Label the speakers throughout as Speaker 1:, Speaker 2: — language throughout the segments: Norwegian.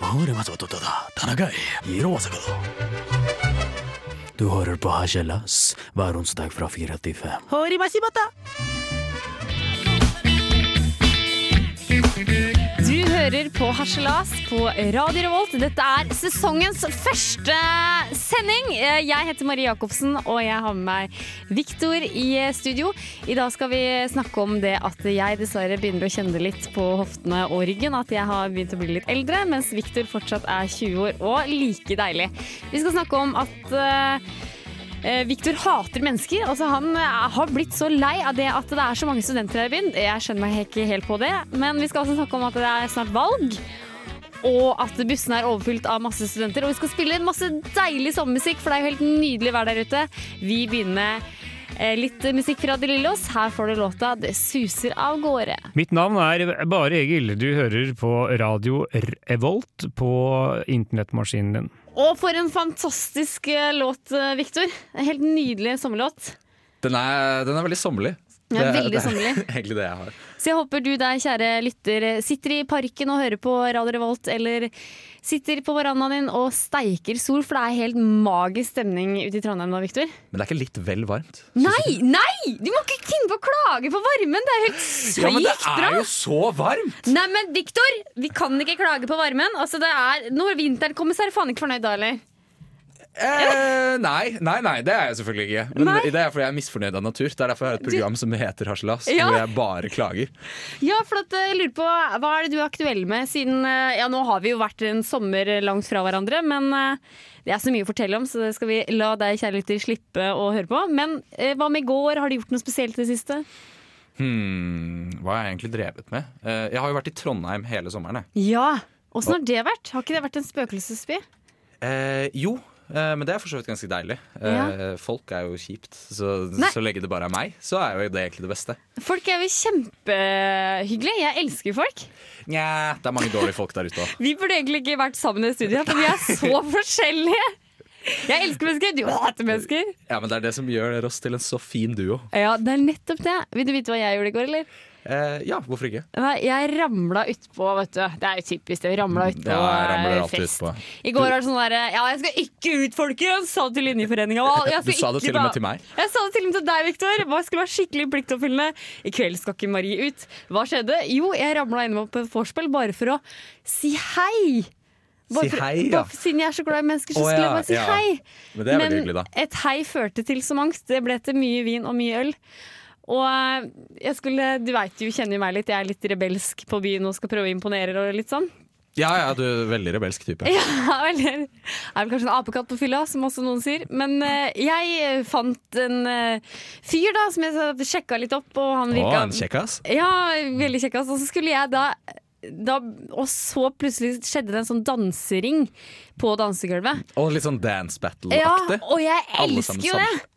Speaker 1: 가을에마저도다 다나가이 이로와서가 Du hører på Harselas hver onsdag fra 4 til 5.
Speaker 2: Du hører på Harselas på Radio Revolt. Dette er sesongens første sending. Eh, Jeg heter Marie Jacobsen, og jeg har med meg Viktor i eh, studio. I dag skal vi snakke om det at jeg dessverre begynner å kjenne litt på hoftene og ryggen. At jeg har begynt å bli litt eldre, mens Viktor fortsatt er 20 år og like deilig. Vi skal snakke om at eh, Eh, Victor hater mennesker. Altså, han eh, har blitt så lei av det at det er så mange studenter her i byen. Jeg skjønner meg ikke helt på det. Men vi skal også snakke om at det er snart valg. Og at bussene er overfylt av masse studenter. Og vi skal spille masse deilig sommermusikk, for det er jo helt nydelig vær der ute. Vi begynner med eh, litt musikk fra De Lillos. Her får du låta 'Det suser av gårde'.
Speaker 3: Mitt navn er Bare Egil. Du hører på radio Revolt på internettmaskinen din.
Speaker 2: Og for en fantastisk eh, låt, eh, Victor. En helt nydelig sommerlåt.
Speaker 4: Den er, den er veldig sommerlig.
Speaker 2: Den er
Speaker 4: Det
Speaker 2: veldig
Speaker 4: det
Speaker 2: sommerlig.
Speaker 4: Egentlig det jeg har.
Speaker 2: Så jeg håper du der, kjære lytter, sitter i parken og hører på Radio Revolt, eller sitter på verandaen din og steiker sol, for det er helt magisk stemning ute i Trondheim nå, Victor.
Speaker 4: Men det er ikke litt vel varmt?
Speaker 2: Nei, nei! Du må ikke finne på å klage på varmen! Det er helt sykt
Speaker 4: Ja, men det
Speaker 2: bra!
Speaker 4: er jo så varmt!
Speaker 2: Nei, men Victor, vi kan ikke klage på varmen. Altså, det er Når vinteren kommer, så er du faen ikke fornøyd da heller.
Speaker 4: Eh, nei, nei, nei, det er jeg selvfølgelig ikke. Men
Speaker 2: Nei.
Speaker 4: Det er fordi jeg er misfornøyd av natur. Det er derfor jeg har et program som heter Harselas,
Speaker 2: Ja.
Speaker 4: hvor jeg bare klager.
Speaker 2: Ja, for at eh, jeg lurer på, Hva er det du er aktuell med siden eh, Ja, nå har vi jo vært en sommer eh, langt fra hverandre, men eh, det er så mye å fortelle om, så det skal vi la deg, kjære lytter, slippe å høre på. Men eh, hva med i går? Har du gjort noe spesielt i det siste?
Speaker 4: Hmm, hva har jeg egentlig drevet med? Eh, jeg har jo vært i Trondheim hele sommeren. Jeg.
Speaker 2: Ja. Åssen har det vært? Har ikke det vært en spøkelsesby?
Speaker 4: Eh, jo, eh, men det er for så vidt ganske deilig. Eh, Folk er jo kjipt, så
Speaker 2: Nei.
Speaker 4: så lenge det bare er meg, så er jo det egentlig det beste.
Speaker 2: Folk er jo kjempehyggelige. Jeg elsker folk.
Speaker 4: Nja, det er mange dårlige folk der ute òg.
Speaker 2: Vi burde egentlig ikke vært sammen i studio, for vi er så forskjellige. Jeg elsker mennesker, du hater mennesker.
Speaker 4: Ja, men det er det som gjør oss til en så fin duo.
Speaker 2: Ja, Det er nettopp det. Vil du vite hva jeg gjorde i går, eller?
Speaker 4: Eh, ja, hvorfor ikke?
Speaker 2: Nei, Jeg ramla utpå, vet du. Det er jo typisk det. Ramla utpå
Speaker 4: Ja, jeg ramler
Speaker 2: eh,
Speaker 4: alltid
Speaker 2: fest.
Speaker 4: utpå.
Speaker 2: I går var det sånn derre Ja, jeg skal ikke ut, folkens! Sa det til Linjeforeninga. Og jeg
Speaker 4: Du
Speaker 2: skal
Speaker 4: sa det
Speaker 2: ikke
Speaker 4: til og
Speaker 2: da-
Speaker 4: med til meg.
Speaker 2: Jeg sa det til og med til deg, Victor. Hva skulle være skikkelig pliktoppfyllende? I kveld skal ikke Marie ut. Hva skjedde? Jo, jeg ramla innom på et vorspiel bare for å si hei. Bare
Speaker 4: Si
Speaker 2: for-
Speaker 4: hei,
Speaker 2: bare
Speaker 4: ja.
Speaker 2: for- Siden jeg er så glad i mennesker, så
Speaker 4: Å,
Speaker 2: skulle jeg
Speaker 4: ja,
Speaker 2: bare si
Speaker 4: ja.
Speaker 2: hei.
Speaker 4: Men det er veldig hyggelig, da.
Speaker 2: et hei førte til så mangt. Det ble til mye vin og mye øl. Og eh, jeg skulle, du vet jo, kjenner jo meg litt, jeg er litt rebelsk på byen og skal prøve å imponere og litt sånn.
Speaker 4: Ja, ja, du er veldig rebelsk type.
Speaker 2: Ja, eller er vel kanskje en apekatt på fylla, som også noen sier. Men eh, jeg fant en eh, fyr da, som jeg sjekka litt opp, og han
Speaker 4: Å,
Speaker 2: virka
Speaker 4: en kjekkas.
Speaker 2: Ja, veldig kjekkas. Og så skulle jeg da, da Og så plutselig skjedde det en sånn dansering på dansegulvet.
Speaker 4: Og litt sånn dance
Speaker 2: Ja,
Speaker 4: battle-aktig.
Speaker 2: og jeg
Speaker 4: Alle sammen
Speaker 2: elsker jo det!
Speaker 4: sammen.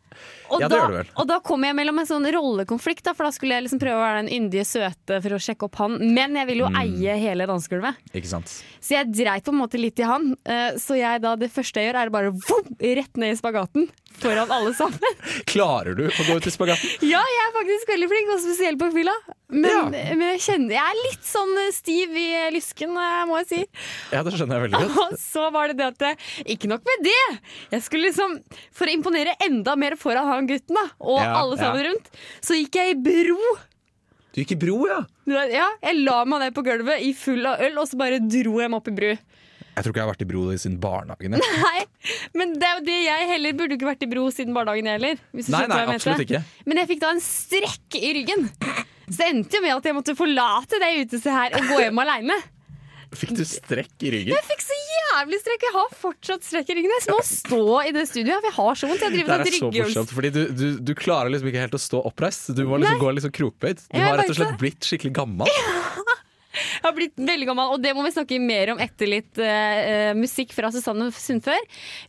Speaker 2: Og,
Speaker 4: Ja, det
Speaker 2: da,
Speaker 4: gjør du vel.
Speaker 2: og da kom jeg mellom en sånn rollekonflikt, da, for da skulle jeg liksom prøve å være den yndige søte for å sjekke opp han. Men jeg
Speaker 4: Mm.
Speaker 2: ville jo eie hele dansegulvet,
Speaker 4: Ikke sant.
Speaker 2: så jeg dreit på en måte litt i han. Eh, Så jeg da, det første jeg gjør, er bare vum, rett ned i spagaten foran alle sammen.
Speaker 4: Klarer du å gå ut i spagaten?
Speaker 2: Ja, jeg er faktisk veldig flink, og spesielt på fylla. Men,
Speaker 4: Ja.
Speaker 2: men jeg kjenner Jeg er litt sånn eh, stiv i eh, lysken, eh, må jeg si.
Speaker 4: Ja, det skjønner jeg veldig godt.
Speaker 2: Og så var det det at jeg- Ikke nok med det! Jeg skulle liksom For å imponere enda mer foran han gutten da og
Speaker 4: Ja,
Speaker 2: alle sammen
Speaker 4: ja.
Speaker 2: rundt, så gikk jeg i bro.
Speaker 4: Du gikk i bro, ja?
Speaker 2: Du vet, Ja, jeg la meg ned på gulvet i full av øl, og så bare dro jeg meg opp i bru.
Speaker 4: Jeg tror ikke jeg har vært i bro i sin barnehagen. jeg.
Speaker 2: Nei, men det er jo det jeg heller burde ikke vært i bro siden barnehagen jeg heller. Hvis du
Speaker 4: Nei,
Speaker 2: skjønner
Speaker 4: nei,
Speaker 2: hva jeg mente.
Speaker 4: absolutt ikke.
Speaker 2: Men jeg fikk da en strekk i ryggen. Så det endte jo med at jeg måtte forlate det utestedet her og gå hjem aleine.
Speaker 4: Fikk du strekk i ryggen?
Speaker 2: Jeg fikk så jævlig strekk. Jeg har fortsatt strekk i ryggen. Jeg må stå i det studioet, for jeg har så vondt. Jeg
Speaker 4: Det
Speaker 2: driver
Speaker 4: er
Speaker 2: med
Speaker 4: så
Speaker 2: ryggøls...
Speaker 4: morsomt, fordi du, du, du klarer liksom ikke helt å stå oppreist. Du må liksom gå liksom krokbøyd. Du
Speaker 2: Jeg
Speaker 4: har rett
Speaker 2: vet
Speaker 4: og slett
Speaker 2: det.
Speaker 4: blitt skikkelig gammel.
Speaker 2: Jeg har blitt veldig gammel, og det må vi snakke mer om etter litt eh, eh, musikk fra Susanne Sundfør.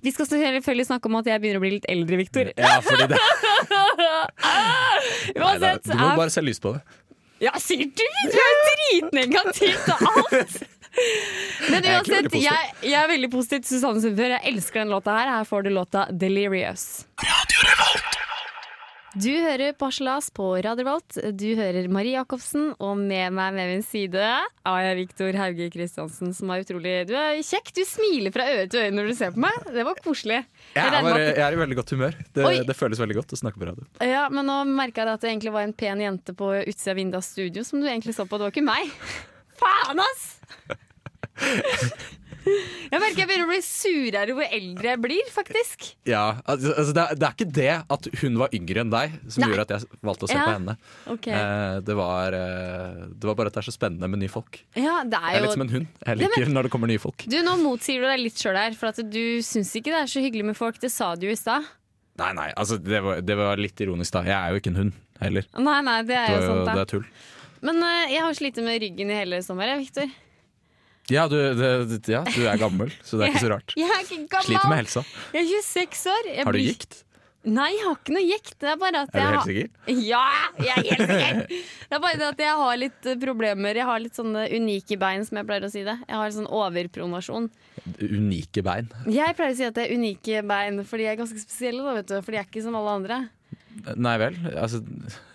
Speaker 2: Vi skal selvfølgelig snakke om at jeg begynner å bli litt eldre, Victor.
Speaker 4: Ja, fordi det, nei, det,
Speaker 2: Uansett,
Speaker 4: du må
Speaker 2: er-
Speaker 4: bare se lyst på det.
Speaker 2: Ja, sier du! Du er dritnegativ til alt! Men
Speaker 4: Jeg er ikke veldig
Speaker 2: uansett,
Speaker 4: positiv.
Speaker 2: jeg, jeg er veldig positiv til Susanne Sundfør. Jeg elsker den låta her. Her får du låta 'Delirious'. Du hører på Harselas på Radio Volt. Du hører Marie Jacobsen, og med meg ved min side er jeg Viktor Hauge Kristiansen, som er utrolig Du er kjekk! Du smiler fra øre til øre når du ser på meg. Det var koselig.
Speaker 4: Jeg er,
Speaker 2: regner med
Speaker 4: bare,
Speaker 2: at-
Speaker 4: jeg er i veldig godt humør. Det,
Speaker 2: Oi.
Speaker 4: det føles veldig godt å snakke på radio.
Speaker 2: Ja, Men nå merka jeg at det egentlig var en pen jente på utsida av vinduet av studio som du egentlig så på. Det var ikke meg. Faen, ass! Jeg merker jeg begynner å bli surere hvor eldre jeg blir, faktisk.
Speaker 4: Ja, altså, altså, det, er, det er ikke det at hun var yngre enn deg som
Speaker 2: Nei.
Speaker 4: gjorde at jeg valgte å se
Speaker 2: Ja.
Speaker 4: på henne.
Speaker 2: Ok.
Speaker 4: Eh, det, var, eh, det var bare at det er så spennende med nye folk.
Speaker 2: Ja, det er
Speaker 4: Jeg er
Speaker 2: jo
Speaker 4: litt som en hund. Jeg
Speaker 2: Det,
Speaker 4: liker når det kommer nye folk.
Speaker 2: Du, Nå motsier du deg litt sjøl her, for at du syns ikke det er så hyggelig med folk. Det sa du jo i stad.
Speaker 4: Nei, nei, altså, det, var, det var litt ironisk, da. Jeg er jo ikke en hund heller.
Speaker 2: Nei, nei, det
Speaker 4: Det,
Speaker 2: er jo
Speaker 4: var jo,
Speaker 2: sant,
Speaker 4: det
Speaker 2: da.
Speaker 4: er tull.
Speaker 2: Men eh, jeg har slitt med ryggen i hele sommer, jeg, Victor.
Speaker 4: Ja du, det, det, ja, du er gammel, så det er ikke så rart.
Speaker 2: Jeg er ikke gammel!
Speaker 4: Sliter med helsa.
Speaker 2: Jeg er 26 år. Jeg
Speaker 4: Har du
Speaker 2: blir-
Speaker 4: gikt?
Speaker 2: Nei, jeg har ikke noe gikt. Det er bare at
Speaker 4: Er du
Speaker 2: jeg
Speaker 4: helt
Speaker 2: har
Speaker 4: sikker?
Speaker 2: Ja, jeg er helt sikker! Det er bare det at jeg har litt eh, problemer. Jeg har litt sånne unike bein, som jeg pleier å si det. Jeg har sånn overpronasjon.
Speaker 4: Unike bein.
Speaker 2: Jeg pleier å si at det er unike bein, fordi jeg er ganske spesielle, da, vet du. Fordi jeg er ikke som alle andre.
Speaker 4: Nei vel. Altså,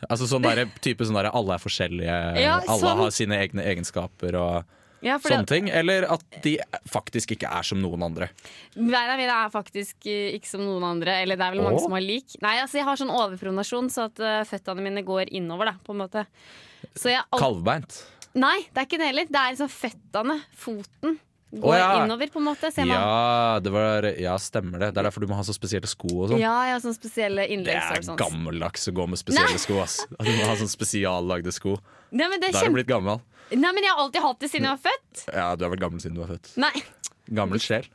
Speaker 4: altså sånn der, type sånn der alle er forskjellige,
Speaker 2: Ja,
Speaker 4: alle
Speaker 2: sånn.
Speaker 4: har sine egne egenskaper og
Speaker 2: Ja, fordi
Speaker 4: sånne ting. Eller at de faktisk ikke er som noen andre.
Speaker 2: Beina mine er faktisk eh, ikke som noen andre. Eller det er vel mange
Speaker 4: Åh?
Speaker 2: som har lik. Nei, altså Jeg har sånn overpronasjon, så at eh, føttene mine går innover. da, på en måte Så jeg al
Speaker 4: Kalvbeint.
Speaker 2: Nei, det er ikke det heller. Det er liksom føttene, foten, går
Speaker 4: Å, ja.
Speaker 2: innover. på en måte ser man.
Speaker 4: Ja, det var, ja, stemmer det. Det er derfor du må ha så spesielle sko og sånn.
Speaker 2: Ja, jeg har sånne spesielle
Speaker 4: Det er
Speaker 2: innleggsår. og sånn. sånt.
Speaker 4: gammeldags å gå med spesielle
Speaker 2: Nei.
Speaker 4: sko. Ass. At Du må ha sånn spesiallagde sko.
Speaker 2: Nei, men det er
Speaker 4: Da er du
Speaker 2: kjempe...
Speaker 4: blitt gammel.
Speaker 2: Nei, men jeg har alltid hatt det siden jeg var født.
Speaker 4: Ja, du er vel gammel siden du var født.
Speaker 2: Nei,
Speaker 4: Gammel sjel.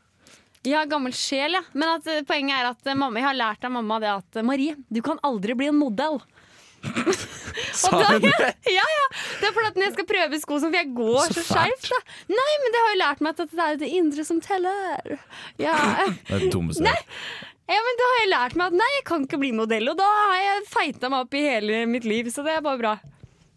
Speaker 2: jeg har gammel sjel, ja. Men at, eh, poenget er at eh, mamma, jeg har lært av mamma det at eh, Marie, du kan aldri bli en modell. Og
Speaker 4: Sa
Speaker 2: da-
Speaker 4: hun det?
Speaker 2: Ja, ja. Det er fordi at når jeg skal prøve sko som for jeg går så,
Speaker 4: Så
Speaker 2: skjevt. da.
Speaker 4: fælt.
Speaker 2: Nei, men det har jo lært meg at det er jo det indre som teller. Ja.
Speaker 4: Det er det dummeste jeg har hørt.
Speaker 2: ja, men det har jeg lært meg at nei, jeg kan ikke bli modell, og da har jeg feita meg opp i hele mitt liv, så det er bare bra.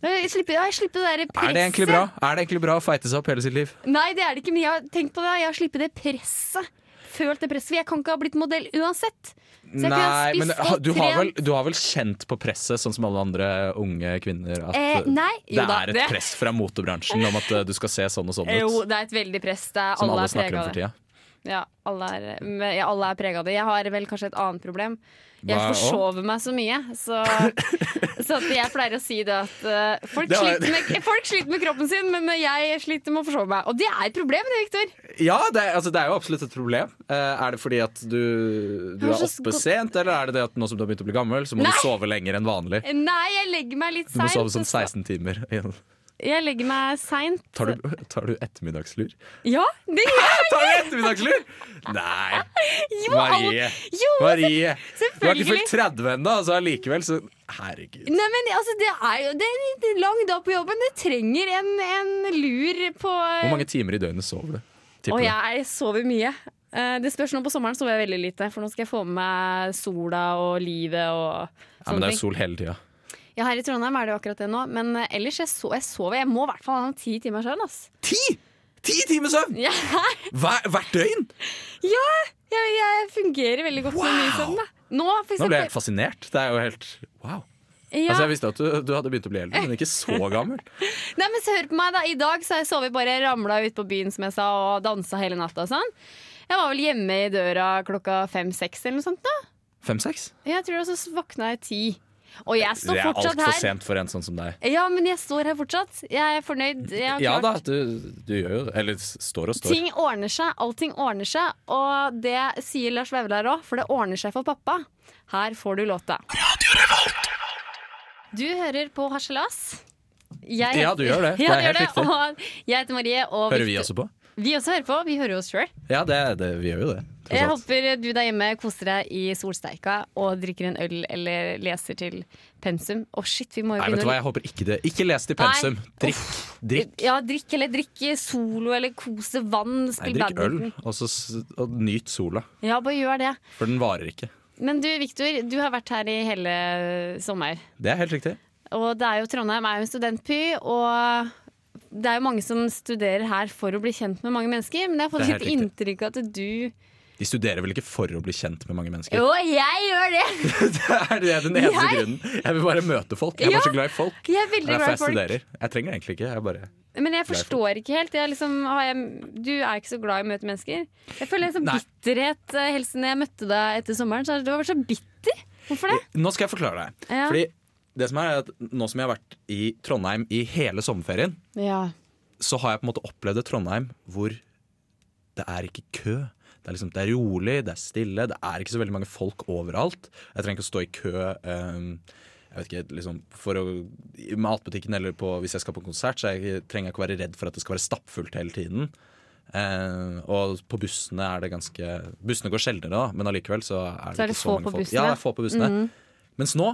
Speaker 2: Jeg slipper, jeg slipper det der presset.
Speaker 4: Er det egentlig bra? Er det egentlig bra å feite seg opp hele sitt liv?
Speaker 2: Nei, det er det ikke, men jeg har tenkt på det. Jeg har sluppet det presset. Følt det presset. for Jeg kan ikke ha blitt modell uansett. Så jeg kunne ha
Speaker 4: Nei,
Speaker 2: spist
Speaker 4: men
Speaker 2: godt,
Speaker 4: du har, vel,
Speaker 2: trent.
Speaker 4: du har vel kjent på presset, sånn som alle andre unge kvinner, at
Speaker 2: Eh, nei, jo
Speaker 4: det
Speaker 2: da,
Speaker 4: er et
Speaker 2: det-
Speaker 4: press fra motebransjen om at eh, du skal se sånn og sånn
Speaker 2: Jo,
Speaker 4: ut?
Speaker 2: det er et veldig press. Det er,
Speaker 4: Som alle
Speaker 2: er preget
Speaker 4: snakker om
Speaker 2: av det.
Speaker 4: for tida.
Speaker 2: Ja, alle er, men- ja, alle er prega av det. Jeg har vel kanskje et annet problem. Jeg
Speaker 4: Hva- å?
Speaker 2: forsover meg så mye, så, så at jeg pleier å si det at eh, folk,
Speaker 4: Det var-
Speaker 2: sliter med, folk sliter med kroppen sin, men jeg sliter med å forsove meg. Og det er et problem, det, Victor.
Speaker 4: Ja, det, er- altså, det er jo absolutt et problem. Eh, er det fordi at du, du
Speaker 2: Jeg
Speaker 4: er
Speaker 2: har så
Speaker 4: oppe
Speaker 2: godt-
Speaker 4: sent, eller er det det at nå som du har begynt å bli gammel, så må
Speaker 2: Nei!
Speaker 4: du sove lenger enn vanlig?
Speaker 2: Nei, jeg legger meg litt
Speaker 4: Du må sove
Speaker 2: seint.
Speaker 4: sånn 16 timer. igjen.
Speaker 2: Jeg legger meg seint.
Speaker 4: Tar du, tar du ettermiddagslur?
Speaker 2: Ja, det gjør jeg!
Speaker 4: Tar du ettermiddagslur?! Nei!
Speaker 2: Jo,
Speaker 4: Marie!
Speaker 2: alt- jo, altså,
Speaker 4: Marie! Du har ikke
Speaker 2: selvfølgelig.
Speaker 4: fylt 30 ennå, altså allikevel, så herregud.
Speaker 2: Nei, men altså, det er jo det er en lang dag på jobben. Det trenger en, en lur på
Speaker 4: Hvor mange timer i døgnet sover du?
Speaker 2: Og
Speaker 4: Tipper du?
Speaker 2: jeg sover mye. Eh, Det spørs nå på sommeren sover jeg veldig lite, for nå skal jeg få med meg sola og livet og
Speaker 4: Ja,
Speaker 2: sånne
Speaker 4: men det er
Speaker 2: ting.
Speaker 4: jo sol hele tida.
Speaker 2: Ja, her i Trondheim er det jo akkurat det nå, men eh, ellers jeg, so jeg sover. Jeg må i hvert fall ha noen ti timer søvn, ass.
Speaker 4: Ti! Ti timer søvn
Speaker 2: Ja,
Speaker 4: hver, hvert døgn!
Speaker 2: jeg, jeg fungerer veldig godt med mye søvn,
Speaker 4: Wow!
Speaker 2: da. Nå, for
Speaker 4: Nå ble
Speaker 2: eksempel.
Speaker 4: jeg helt fascinert. Det er jo helt wow.
Speaker 2: Ja.
Speaker 4: Altså, jeg visste at du, du hadde begynt å bli eldre, men ikke så gammel.
Speaker 2: Nei, men så hør på meg, da. I dag så har jeg sovet bare ramla ut på byen, som jeg sa, og dansa hele natta og sånn. Jeg var vel hjemme i døra klokka fem-seks eller noe sånt, da.
Speaker 4: Fem-seks?
Speaker 2: Jeg tror også våkna jeg ti. Og jeg
Speaker 4: Det
Speaker 2: står
Speaker 4: er
Speaker 2: fortsatt
Speaker 4: altfor
Speaker 2: her.
Speaker 4: sent for en sånn som deg.
Speaker 2: Ja, men jeg står her fortsatt. Jeg er fornøyd. Jeg har
Speaker 4: Ja da,
Speaker 2: klart.
Speaker 4: du, du gjør jo det. Eller s- står og står.
Speaker 2: Ting ordner seg, allting ordner seg, og det sier Lars Vaular òg, for det ordner seg for pappa. Her får du låta. Du hører på Harselas. Jeg
Speaker 4: Ja, du gjør det. Det
Speaker 2: Ja,
Speaker 4: er
Speaker 2: du gjør
Speaker 4: helt
Speaker 2: det. Og jeg heter Marie, og
Speaker 4: Hører vi
Speaker 2: Victor-
Speaker 4: også på?
Speaker 2: vi også hører på. Vi hører oss sjøl.
Speaker 4: Ja, det, det, vi gjør jo det. tross
Speaker 2: Jeg
Speaker 4: alt.
Speaker 2: håper du der hjemme koser deg i solsteika og drikker en øl eller leser til pensum. Å, shit, vi må jo
Speaker 4: Nei, vet du hva, jeg håper ikke det. Ikke les til pensum.
Speaker 2: Nei.
Speaker 4: Drikk. Drikk.
Speaker 2: Ja, drikk eller drikk solo eller kose vann.
Speaker 4: Nei,
Speaker 2: Spill
Speaker 4: drikk øl,
Speaker 2: badminton.
Speaker 4: og, så, s- og nyt sola.
Speaker 2: Ja, bare gjør det.
Speaker 4: For den varer ikke.
Speaker 2: Men du, Viktor, du har vært her i hele sommer.
Speaker 4: Det er helt riktig.
Speaker 2: Og det er jo Trondheim er jo en studentby, og det er jo mange som studerer her for å bli kjent med mange mennesker. Men jeg har fått
Speaker 4: Det er
Speaker 2: litt
Speaker 4: helt riktig.
Speaker 2: inntrykk av at du
Speaker 4: De studerer vel ikke for å bli kjent med mange mennesker?
Speaker 2: Jo, jeg gjør det!
Speaker 4: Det er det den eneste
Speaker 2: Jeg-
Speaker 4: grunnen. Jeg vil bare møte folk. Jeg er
Speaker 2: Ja.
Speaker 4: bare så glad i folk.
Speaker 2: Jeg er
Speaker 4: Det er
Speaker 2: veldig
Speaker 4: derfor
Speaker 2: glad i
Speaker 4: jeg
Speaker 2: folk.
Speaker 4: studerer. Jeg trenger det egentlig ikke. Jeg bare
Speaker 2: Men jeg
Speaker 4: folk.
Speaker 2: forstår ikke helt. Jeg liksom, har jeg, du er ikke så glad i å møte mennesker. Jeg føler en sånn
Speaker 4: Nei.
Speaker 2: bitterhet eh, helst når jeg møtte deg etter sommeren. Så er det- du var så bitter. Hvorfor det?
Speaker 4: Nå skal jeg forklare deg.
Speaker 2: Ja.
Speaker 4: Fordi det som er, er at nå som jeg har vært i Trondheim i hele sommerferien,
Speaker 2: Ja.
Speaker 4: så har jeg på en måte opplevd et Trondheim hvor det er ikke kø. Det er, liksom, det er rolig, det er stille, det er ikke så veldig mange folk overalt. Jeg trenger ikke å stå i kø ehm, jeg vet ikke, liksom, for å, i matbutikken eller på, hvis jeg skal på konsert. Så jeg trenger ikke å være redd for at det skal være stappfullt hele tiden. Eh, og på bussene er det ganske Bussene går sjeldnere, da, men allikevel så er det,
Speaker 2: Så er det
Speaker 4: ikke
Speaker 2: få
Speaker 4: så mange
Speaker 2: på bussene.
Speaker 4: folk.
Speaker 2: Mhm.
Speaker 4: Ja, det er få på bussene. Mens nå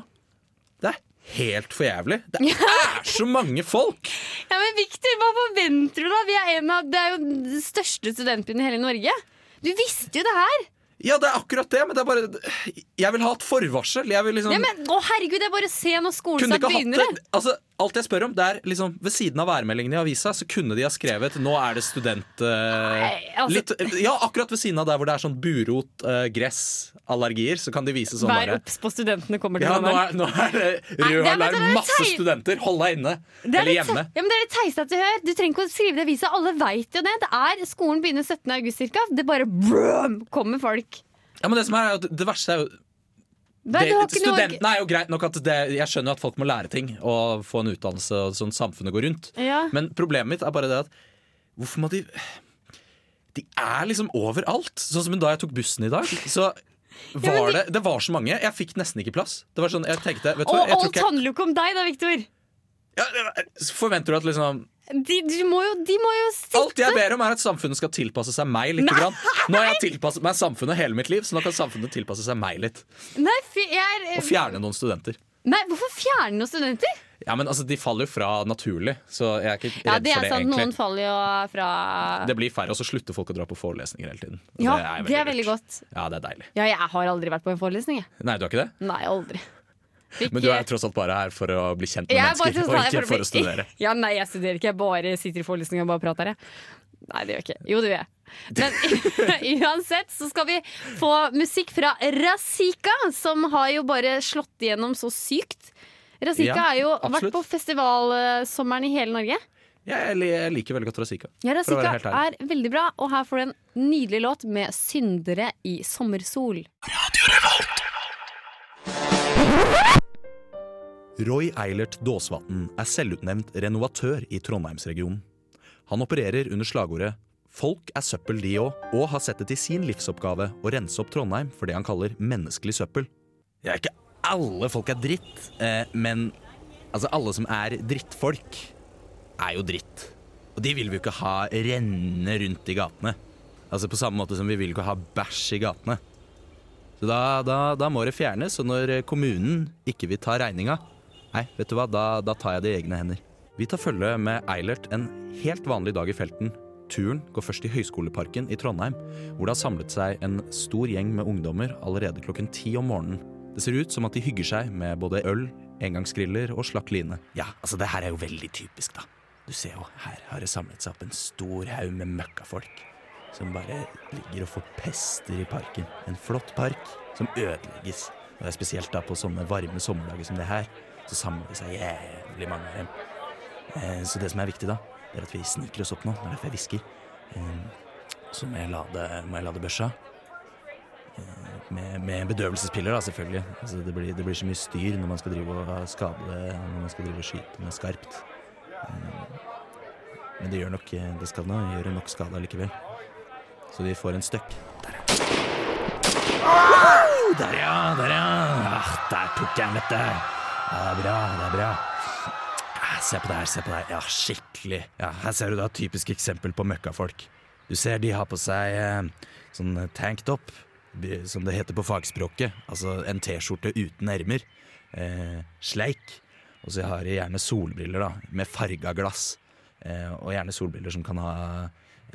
Speaker 4: det er helt for jævlig. Det er så mange folk!
Speaker 2: ja, men Victor, hva forventer du da? Vi er en av, det er jo den største studentbyen i hele Norge. Du visste jo det her!
Speaker 4: Ja, det er akkurat det, men det er bare Jeg vil ha et forvarsel. Jeg vil liksom
Speaker 2: Ja, men, å herregud, det er bare å se når
Speaker 4: kunne
Speaker 2: skolestart
Speaker 4: ikke hatt
Speaker 2: begynner.
Speaker 4: det. Altså, alt jeg spør om, det er liksom Ved siden av værmeldingen i avisa, så kunne de ha skrevet 'Nå er det student'... eh,
Speaker 2: Nei, altså-
Speaker 4: litt, ja, akkurat ved siden av der hvor det er sånn burot, eh, gress, allergier, så kan de vise sånn
Speaker 2: Vær
Speaker 4: bare
Speaker 2: obs på studentene kommer til
Speaker 4: ja, nå
Speaker 2: Trondheim.
Speaker 4: er, nå er det
Speaker 2: Nei, det
Speaker 4: rød
Speaker 2: er- men det
Speaker 4: alarm,
Speaker 2: er
Speaker 4: masse
Speaker 2: teit.
Speaker 4: studenter, hold deg inne!
Speaker 2: Det er
Speaker 4: Eller
Speaker 2: litt-
Speaker 4: hjemme.
Speaker 2: Ja, men det er litt teisete å høre. Du trenger ikke å skrive det i avisa. Alle veit jo det. det er, skolen begynner 17. august cirka. Det bare brøm, kommer folk.
Speaker 4: Ja, men Det som er, er jo- det verste er jo
Speaker 2: Nei,
Speaker 4: det,
Speaker 2: du har ikke noe-
Speaker 4: Studentene er jo greit nok at det, Jeg skjønner at folk må lære ting og få en utdannelse, og sånn samfunnet går rundt.
Speaker 2: Ja.
Speaker 4: Men problemet mitt er bare det at hvorfor må de De er liksom overalt. Sånn som da jeg tok bussen i dag, så
Speaker 2: men
Speaker 4: var det Det var så mange. Jeg fikk nesten ikke plass. Det var sånn, jeg tenkte vet du hva,
Speaker 2: Og
Speaker 4: jeg tror
Speaker 2: alt
Speaker 4: ikke jeg,
Speaker 2: handler jo ikke om deg da, Victor.
Speaker 4: ja, Forventer du at liksom
Speaker 2: De, du må jo, de må jo sitte
Speaker 4: Alt jeg ber om, er at samfunnet skal tilpasse seg meg litt. Grann. Nå har jeg tilpasset meg samfunnet hele mitt liv, så nå kan samfunnet tilpasse seg meg litt.
Speaker 2: Nei, fy, jeg
Speaker 4: Og
Speaker 2: er,
Speaker 4: fjerne noen studenter.
Speaker 2: nei, hvorfor fjerne noen studenter?
Speaker 4: Ja, men altså, De faller jo fra naturlig, så jeg er ikke redd
Speaker 2: Ja, det
Speaker 4: for
Speaker 2: er
Speaker 4: det.
Speaker 2: sant.
Speaker 4: egentlig
Speaker 2: Noen faller jo fra
Speaker 4: Det blir færre, og så slutter folk å dra på forelesninger hele tiden. Og
Speaker 2: Ja,
Speaker 4: jo
Speaker 2: det er veldig
Speaker 4: lurt.
Speaker 2: godt.
Speaker 4: Ja, det er deilig.
Speaker 2: Ja, jeg har aldri vært på en forelesning, jeg.
Speaker 4: Nei, du har ikke det?
Speaker 2: Nei, aldri. Fikk-
Speaker 4: Men du er tross alt bare her for å bli kjent med
Speaker 2: Jeg er bare
Speaker 4: mennesker,
Speaker 2: sånn- jeg
Speaker 4: og ikke
Speaker 2: bare-
Speaker 4: for å studere.
Speaker 2: Ja, nei, jeg studerer ikke. Jeg bare sitter i forelesning og bare prater. Jeg. Nei, det gjør jeg ikke. Jo, det gjør jeg. Men uansett så skal vi få musikk fra Razika, som har jo bare slått igjennom så sykt. Razika
Speaker 4: Ja,
Speaker 2: har jo vært
Speaker 4: absolutt.
Speaker 2: på festivalsommeren i hele Norge.
Speaker 4: Jeg li- jeg liker veldig godt Razika.
Speaker 2: Ja,
Speaker 4: for å være
Speaker 2: Razika
Speaker 4: helt ærlig.
Speaker 2: er veldig bra, og her får du en nydelig låt med 'Syndere i sommersol'.
Speaker 4: Roy Eilert Daasvatn er selvutnevnt renovatør i Trondheimsregionen. Han opererer under slagordet 'Folk er søppel, de òg', og har sett det til sin livsoppgave å rense opp Trondheim for det han kaller menneskelig søppel. Ja, ikke alle folk er dritt, eh, men altså, alle som er drittfolk, er jo dritt. Og de vil vi jo ikke ha renne rundt i gatene. Altså På samme måte som vi vil ikke ha bæsj i gatene. Så da, da, da må det fjernes, og når kommunen ikke vil ta regninga, Nei, vet du hva? Da, da tar jeg det i egne hender. Vi tar følge med Eilert en helt vanlig dag i felten. Turen går først i Høyskoleparken i Trondheim, hvor det har samlet seg en stor gjeng med ungdommer allerede klokken ti om morgenen. Det ser ut som at de hygger seg med både øl, engangsgriller og slakk line. Ja, altså det her er jo veldig typisk, da. Du ser jo, her har det samlet seg opp en stor haug med møkkafolk. Som bare ligger og forpester i parken. En flott park som ødelegges. Og det er spesielt da på sånne varme sommerdager som det her, så samler det seg jævlig mange av dem. Eh, Så det som er viktig da, det er at vi sniker oss opp nå. Det er derfor jeg hvisker. Eh, Så må jeg lade, må jeg lade børsa. Eh, Med, med bedøvelsespiller, da, selvfølgelig. Altså, det, blir, det blir så mye styr når man skal drive og skade, når man skal drive og skyte med skarpt. Eh, Men det gjør nok eh, det skal nå gjøre nok skade allikevel. Så de får en støkk. Der, ja. Der, ja. Der, ja. Ah, der tok jeg den, vet du. Ja, det er bra, det er bra. Ah, Se på det her, se på det her. Ja, skikkelig. Ja, her ser du da et typisk eksempel på møkkafolk. Du ser de har på seg eh, sånn tanktop, b- som det heter på fagspråket. Altså en T-skjorte uten ermer. Eh, sleik. Og så har de gjerne solbriller, da, med farga glass. Eh, og gjerne solbriller som kan ha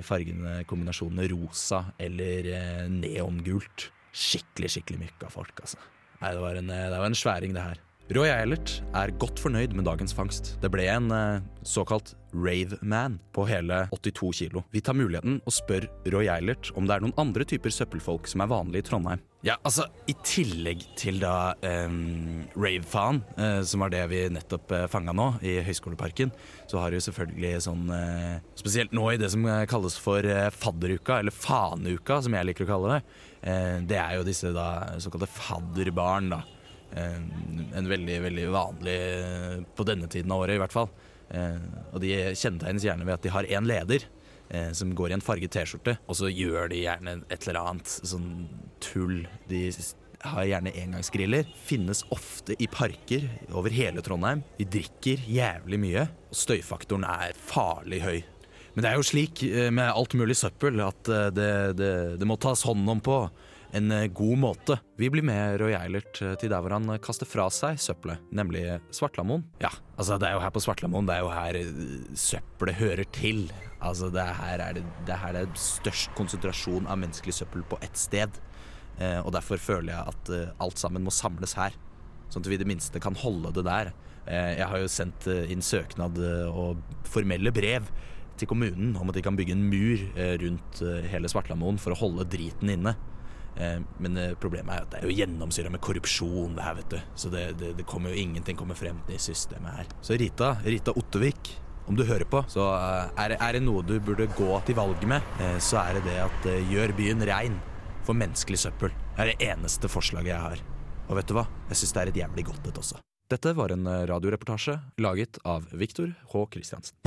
Speaker 4: fargene, kombinasjonene rosa eller eh, neongult. Skikkelig, skikkelig mykka folk, altså. Nei, det var, en, eh, det var en sværing, det her. Roy Eilert er godt fornøyd med dagens fangst. Det ble en eh, såkalt rave-man på hele 82 kilo. Vi tar muligheten og spør Roy Eilert om det er noen andre typer søppelfolk som er vanlige i Trondheim. Ja, altså, i tillegg til da um, rave-faen, eh, som var det vi nettopp uh, fanga nå i Høgskoleparken, så har det jo selvfølgelig sånn eh, Spesielt nå i det som eh, kalles for eh, fadderuka, eller faneuka, som jeg liker å kalle det. eh, det er jo disse da såkalte fadderbarn, da. Eh, en veldig, veldig vanlig eh, på denne tiden av året, i hvert fall. Eh, Og de kjennetegnes gjerne ved at de har én leder eh, som går i en farget T-skjorte, og så gjør de gjerne et eller annet sånn tull. De s- har gjerne engangsgriller. Finnes ofte i parker over hele Trondheim. De drikker jævlig mye, og støyfaktoren er farlig høy. Men det er jo slik eh, med alt mulig søppel at eh, det, det, det må tas hånd om på en eh, god måte. Vi blir med Roy Eilert eh, til der hvor han eh, kaster fra seg søppelet, nemlig eh, Svartlamoen. Ja, altså det er jo her på Svartlamoen, det er jo her eh, søppelet hører til. Altså det er her er det, det er her det er størst konsentrasjon av menneskelig søppel på ett sted. Eh, Og derfor føler jeg at eh, alt sammen må samles her. Sånn at vi i det minste kan holde det der. Eh, Jeg har jo sendt eh, inn søknad eh, og formelle brev til kommunen om at de kan bygge en mur eh, rundt eh, hele Svartlamoen for å holde driten inne. Eh, Men eh, problemet er at det er jo gjennomsyra med korrupsjon, det her, vet du. Så det, det, det kommer jo ingenting kommer frem i systemet her. Så Rita, Rita Ottervik, om du hører på, så eh, er, det- er det noe du burde gå til valg med, eh, så er det det at eh, gjør byen rein for menneskelig søppel. Det er det eneste forslaget jeg har. Og vet du hva? Jeg syns det er et jævlig godt et også. Dette var en eh, radioreportasje laget av Viktor H. Kristiansen.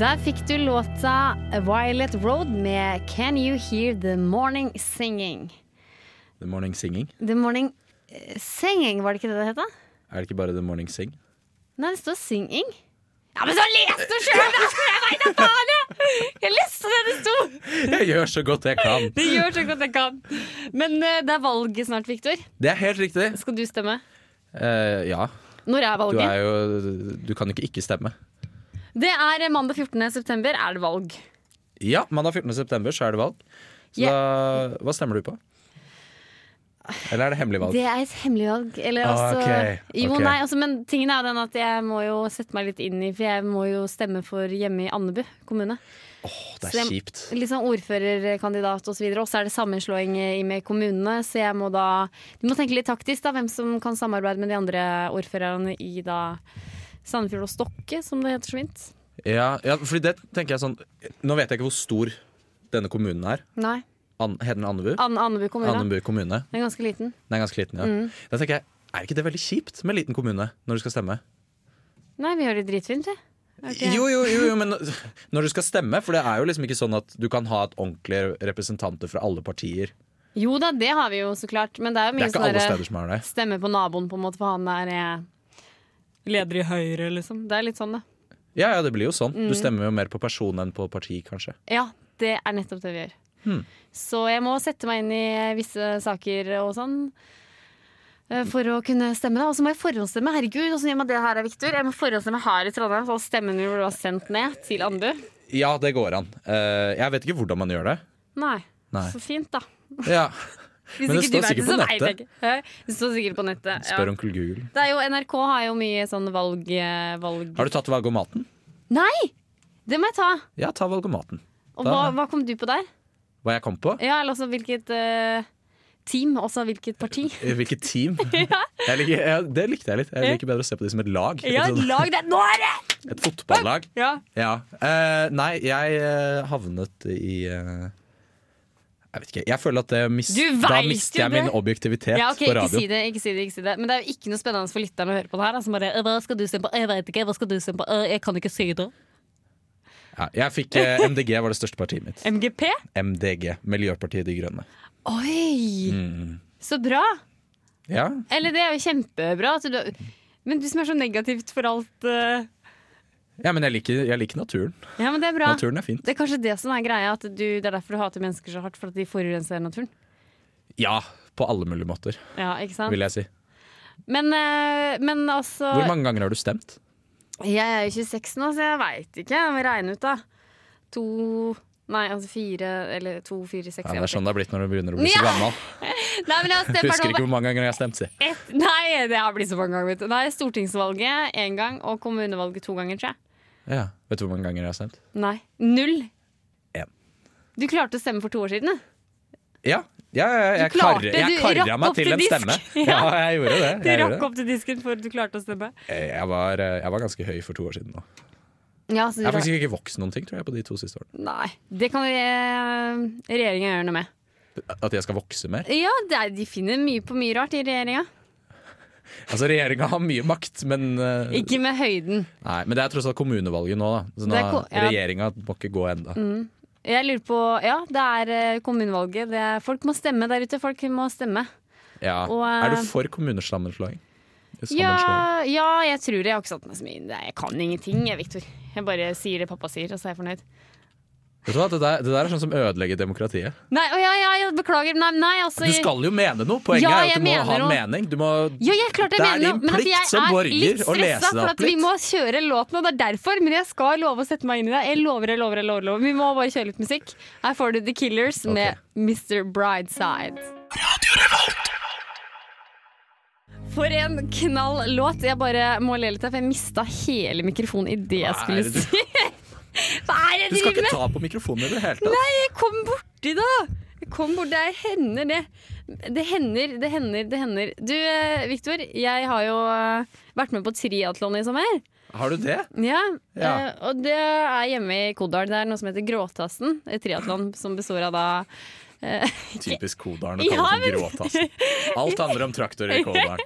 Speaker 2: Der fikk du låta Violet Road med Can You Hear The Morning Singing.
Speaker 4: The Morning Singing.
Speaker 2: The Morning eh, Singing, var det ikke det det het? da?
Speaker 4: Er det ikke bare The Morning Sing?
Speaker 2: Nei, det står singing. Ja, men så les du sjøl, da! Jeg veit da faen, jeg! Jeg leste det det sto!
Speaker 4: Jeg gjør så godt jeg kan!
Speaker 2: Det gjør så godt jeg kan. Men eh, det er valget snart, Viktor.
Speaker 4: Det er helt riktig.
Speaker 2: Skal du stemme?
Speaker 4: Eh, ja.
Speaker 2: Når er
Speaker 4: Du
Speaker 2: valget?
Speaker 4: er jo Du kan jo ikke ikke stemme.
Speaker 2: Det er eh, mandag 14. september er det valg.
Speaker 4: Ja, mandag 14. september så er det valg. Så da, hva stemmer du på? Eller er det hemmelig valg?
Speaker 2: Det er et hemmelig valg. Eller
Speaker 4: Ah,
Speaker 2: altså,
Speaker 4: ok,
Speaker 2: jo,
Speaker 4: ok.
Speaker 2: nei, altså, men tingen er jo den at jeg må jo sette meg litt inn i For jeg må jo stemme for hjemme i Andebu kommune.
Speaker 4: Åh, det
Speaker 2: så
Speaker 4: er
Speaker 2: jeg-
Speaker 4: kjipt.
Speaker 2: Litt sånn ordførerkandidat osv. Og så er det sammenslåing i- med kommunene, så jeg må da Du må tenke litt taktisk, da. Hvem som kan samarbeide med de andre ordførerne i da Sandefjord og Stokke, som det heter så fint.
Speaker 4: Ja, ja, fordi det tenker jeg sånn Nå vet jeg ikke hvor stor denne kommunen er.
Speaker 2: Nei.
Speaker 4: An, heter den Andebu?
Speaker 2: An Andebu kommune.
Speaker 4: Andebu kommune.
Speaker 2: Den er ganske liten.
Speaker 4: Den er ganske liten, ja. Da tenker jeg, Er ikke det veldig kjipt med liten kommune når du skal stemme?
Speaker 2: Nei, vi gjør det dritfint, vi. Er ikke-
Speaker 4: Jo, jo, jo, jo, men når du skal stemme, for det er jo liksom ikke sånn at du kan ha et ordentlig representanter fra alle partier.
Speaker 2: Jo da, det har vi jo så klart. Men det er jo
Speaker 4: Det
Speaker 2: mye
Speaker 4: er ikke alle
Speaker 2: sånn derre-
Speaker 4: steder som har det.
Speaker 2: stemme på naboen, på en måte, for han er eh, leder i Høyre, liksom. Det er litt sånn, det.
Speaker 4: Ja, ja, det blir jo sånn.
Speaker 2: Mm.
Speaker 4: Du stemmer jo mer på person enn på parti, kanskje.
Speaker 2: Ja, det er nettopp det vi gjør.
Speaker 4: Hmm.
Speaker 2: Så jeg må sette meg inn i visse saker og sånn. eh, For å kunne stemme, da. Og så må jeg forhåndsstemme. Herregud, åssen gjør man det her, Victor? Jeg må forhåndsstemme her i Trondheim, så all stemmen min blir da sendt ned til Anbu.
Speaker 4: Ja, det går an. Eh, jeg vet ikke hvordan man gjør det.
Speaker 2: Nei.
Speaker 4: Nei.
Speaker 2: Så fint, da.
Speaker 4: Ja,
Speaker 2: Hvis
Speaker 4: Men det
Speaker 2: ikke du
Speaker 4: står
Speaker 2: vet
Speaker 4: sikkert på
Speaker 2: så vet jeg
Speaker 4: nettet.
Speaker 2: ikke. Hæ? Det står sikkert på nettet.
Speaker 4: Spør
Speaker 2: Ja.
Speaker 4: onkel Google.
Speaker 2: Det er jo, NRK har jo mye sånn valg... eh, valg.
Speaker 4: Har du tatt valgomaten?
Speaker 2: Nei! Det må jeg ta.
Speaker 4: Ja, ta valgomaten.
Speaker 2: Og
Speaker 4: Da-
Speaker 2: hva, hva kom du på der?
Speaker 4: Hva jeg kom på?
Speaker 2: Ja, eller også hvilket eh, team, også hvilket parti.
Speaker 4: Hvilket team? jeg liker, ja, det likte jeg litt. Jeg liker bedre å se på de som et lag.
Speaker 2: Ja,
Speaker 4: Et sånn-
Speaker 2: lag det! Nå er det!
Speaker 4: Et fotballag.
Speaker 2: Ja.
Speaker 4: Ja. Eh, nei, jeg eh, havnet i eh, Jeg vet ikke. Jeg føler at det mist,
Speaker 2: Du
Speaker 4: da
Speaker 2: vet
Speaker 4: mister
Speaker 2: jo
Speaker 4: jeg
Speaker 2: det.
Speaker 4: min objektivitet
Speaker 2: Ja, ok,
Speaker 4: på
Speaker 2: ikke
Speaker 4: radio.
Speaker 2: si, det, ikke si det, ikke si det. Men det er jo ikke noe spennende for lytterne å høre på det her. Altså bare, hva skal du stemme på? Jeg vet ikke, hva skal du stemme på? Eh, Jeg kan ikke si det.
Speaker 4: Ja, jeg fikk eh, MDG var det største partiet mitt.
Speaker 2: MGP?
Speaker 4: MDG, Miljøpartiet De Grønne.
Speaker 2: Oi!
Speaker 4: Mm.
Speaker 2: Så bra!
Speaker 4: Ja,
Speaker 2: Eller det er jo kjempebra. at du, men du som er så negativt for alt eh,
Speaker 4: ja men jeg liker, jeg liker naturen.
Speaker 2: Ja, men det er bra.
Speaker 4: Naturen er fint.
Speaker 2: Det er kanskje det som er greia, at du, det er derfor du hater mennesker så hardt, for at de forurenser naturen.
Speaker 4: Ja, på alle mulige måter,
Speaker 2: Ja, ikke sant?
Speaker 4: vil jeg si.
Speaker 2: Men, eh, men altså
Speaker 4: Hvor mange ganger har du stemt?
Speaker 2: Jeg er jo 26 nå, så jeg veit ikke. Jeg må regne ut, da. To Nei, altså fire eller to, fire, seks
Speaker 4: Ja,
Speaker 2: jeg
Speaker 4: det er
Speaker 2: vet
Speaker 4: sånn det er blitt når du begynner å bli så
Speaker 2: Ja.
Speaker 4: gammel.
Speaker 2: ikke. Nei, men jeg har stemt
Speaker 4: Husker
Speaker 2: hvertfall
Speaker 4: ikke hvor mange ganger jeg har stemt, si.
Speaker 2: på ett Nei, det har blitt så mange ganger. vet du. Nei, Stortingsvalget én gang og kommunevalget to ganger, tror jeg.
Speaker 4: Ja. Vet du hvor mange ganger jeg har stemt?
Speaker 2: Nei. Null.
Speaker 4: En.
Speaker 2: Du klarte å stemme for to år siden, du.
Speaker 4: Ja, ja, ja, ja, jeg,
Speaker 2: Du klarte,
Speaker 4: karre, jeg
Speaker 2: du rakk
Speaker 4: karra
Speaker 2: opp
Speaker 4: meg til
Speaker 2: til
Speaker 4: en
Speaker 2: disk.
Speaker 4: stemme.
Speaker 2: Ja.
Speaker 4: Ja, jeg gjorde det.
Speaker 2: Du
Speaker 4: Jeg, gjorde
Speaker 2: rakk
Speaker 4: det.
Speaker 2: opp til disken for at du klarte å stemme.
Speaker 4: jeg, var, eh, jeg var ganske høy for to år siden. nå
Speaker 2: Ja, så du
Speaker 4: Jeg har
Speaker 2: rakk-
Speaker 4: faktisk ikke vokst noen ting tror jeg, på de to siste årene.
Speaker 2: Nei. Det kan eh, regjeringa gjøre noe med.
Speaker 4: At jeg skal vokse mer.
Speaker 2: Ja, det er, de finner mye på mye rart i regjeringa.
Speaker 4: Altså, Regjeringa har mye makt, men, eh,
Speaker 2: Ikke med høyden.
Speaker 4: nei, men det er tross alt kommunevalget nå. Da. Så
Speaker 2: Det
Speaker 4: nå
Speaker 2: er ko- ja. Mm.
Speaker 4: Regjeringa må ikke gå ennå.
Speaker 2: Jeg lurer på, ja, det er eh, kommunevalget. Det er, folk må stemme der ute. Folk må stemme.
Speaker 4: Ja.
Speaker 2: Og, eh,
Speaker 4: Er du for kommunesammenslåing? Sammenslåing.
Speaker 2: Ja, ja, jeg tror det. Jeg har ikke satt meg så mye inn i det. Jeg kan ingenting, jeg, Victor. Jeg bare sier det pappa sier, og så er jeg fornøyd.
Speaker 4: Vet du hva, det der, det der er sånn som ødelegger demokratiet.
Speaker 2: Nei, å, ja, ja, jeg beklager. Nei, nei, altså
Speaker 4: Du skal jo mene noe! Poenget
Speaker 2: Ja,
Speaker 4: er jo
Speaker 2: jeg
Speaker 4: at du må
Speaker 2: mener
Speaker 4: ha en
Speaker 2: noe.
Speaker 4: mening. Du må,
Speaker 2: ja, jeg klarte
Speaker 4: det
Speaker 2: jeg
Speaker 4: er
Speaker 2: mener
Speaker 4: din
Speaker 2: men at
Speaker 4: plikt
Speaker 2: jeg
Speaker 4: som
Speaker 2: er
Speaker 4: borger
Speaker 2: litt
Speaker 4: å
Speaker 2: stressa
Speaker 4: lese deg
Speaker 2: for
Speaker 4: opp
Speaker 2: at Vi
Speaker 4: litt.
Speaker 2: må kjøre låten, og det er derfor. Men jeg skal love å sette meg inn i det. Jeg lover, jeg lover, jeg lover. jeg lover. Vi må bare kjøre litt musikk. Her får du The Killers med Mr. Brideside. For en knall låt. Jeg bare må le litt, her, for jeg mista hele mikrofonen i det jeg
Speaker 4: Hva er
Speaker 2: skulle
Speaker 4: det du-
Speaker 2: si. Hva er det
Speaker 4: du
Speaker 2: jeg
Speaker 4: skal
Speaker 2: driver med?
Speaker 4: ikke ta på mikrofonen i det hele tatt.
Speaker 2: Nei, jeg kom borti da Jeg kom borti, det hender det Det hender, det hender, det hender Du, eh, Victor, jeg har jo eh, vært med på triatlon i sommer
Speaker 4: Har du det?
Speaker 2: Ja,
Speaker 4: Ja.
Speaker 2: eh, og det er hjemme i Kodal Det er noe som heter Gråtassen et Triatlon som består av da eh,
Speaker 4: Typisk Kodalen å
Speaker 2: Ja,
Speaker 4: kalle
Speaker 2: men-
Speaker 4: det for gråtass. Alt handler om traktorer i Kodalen.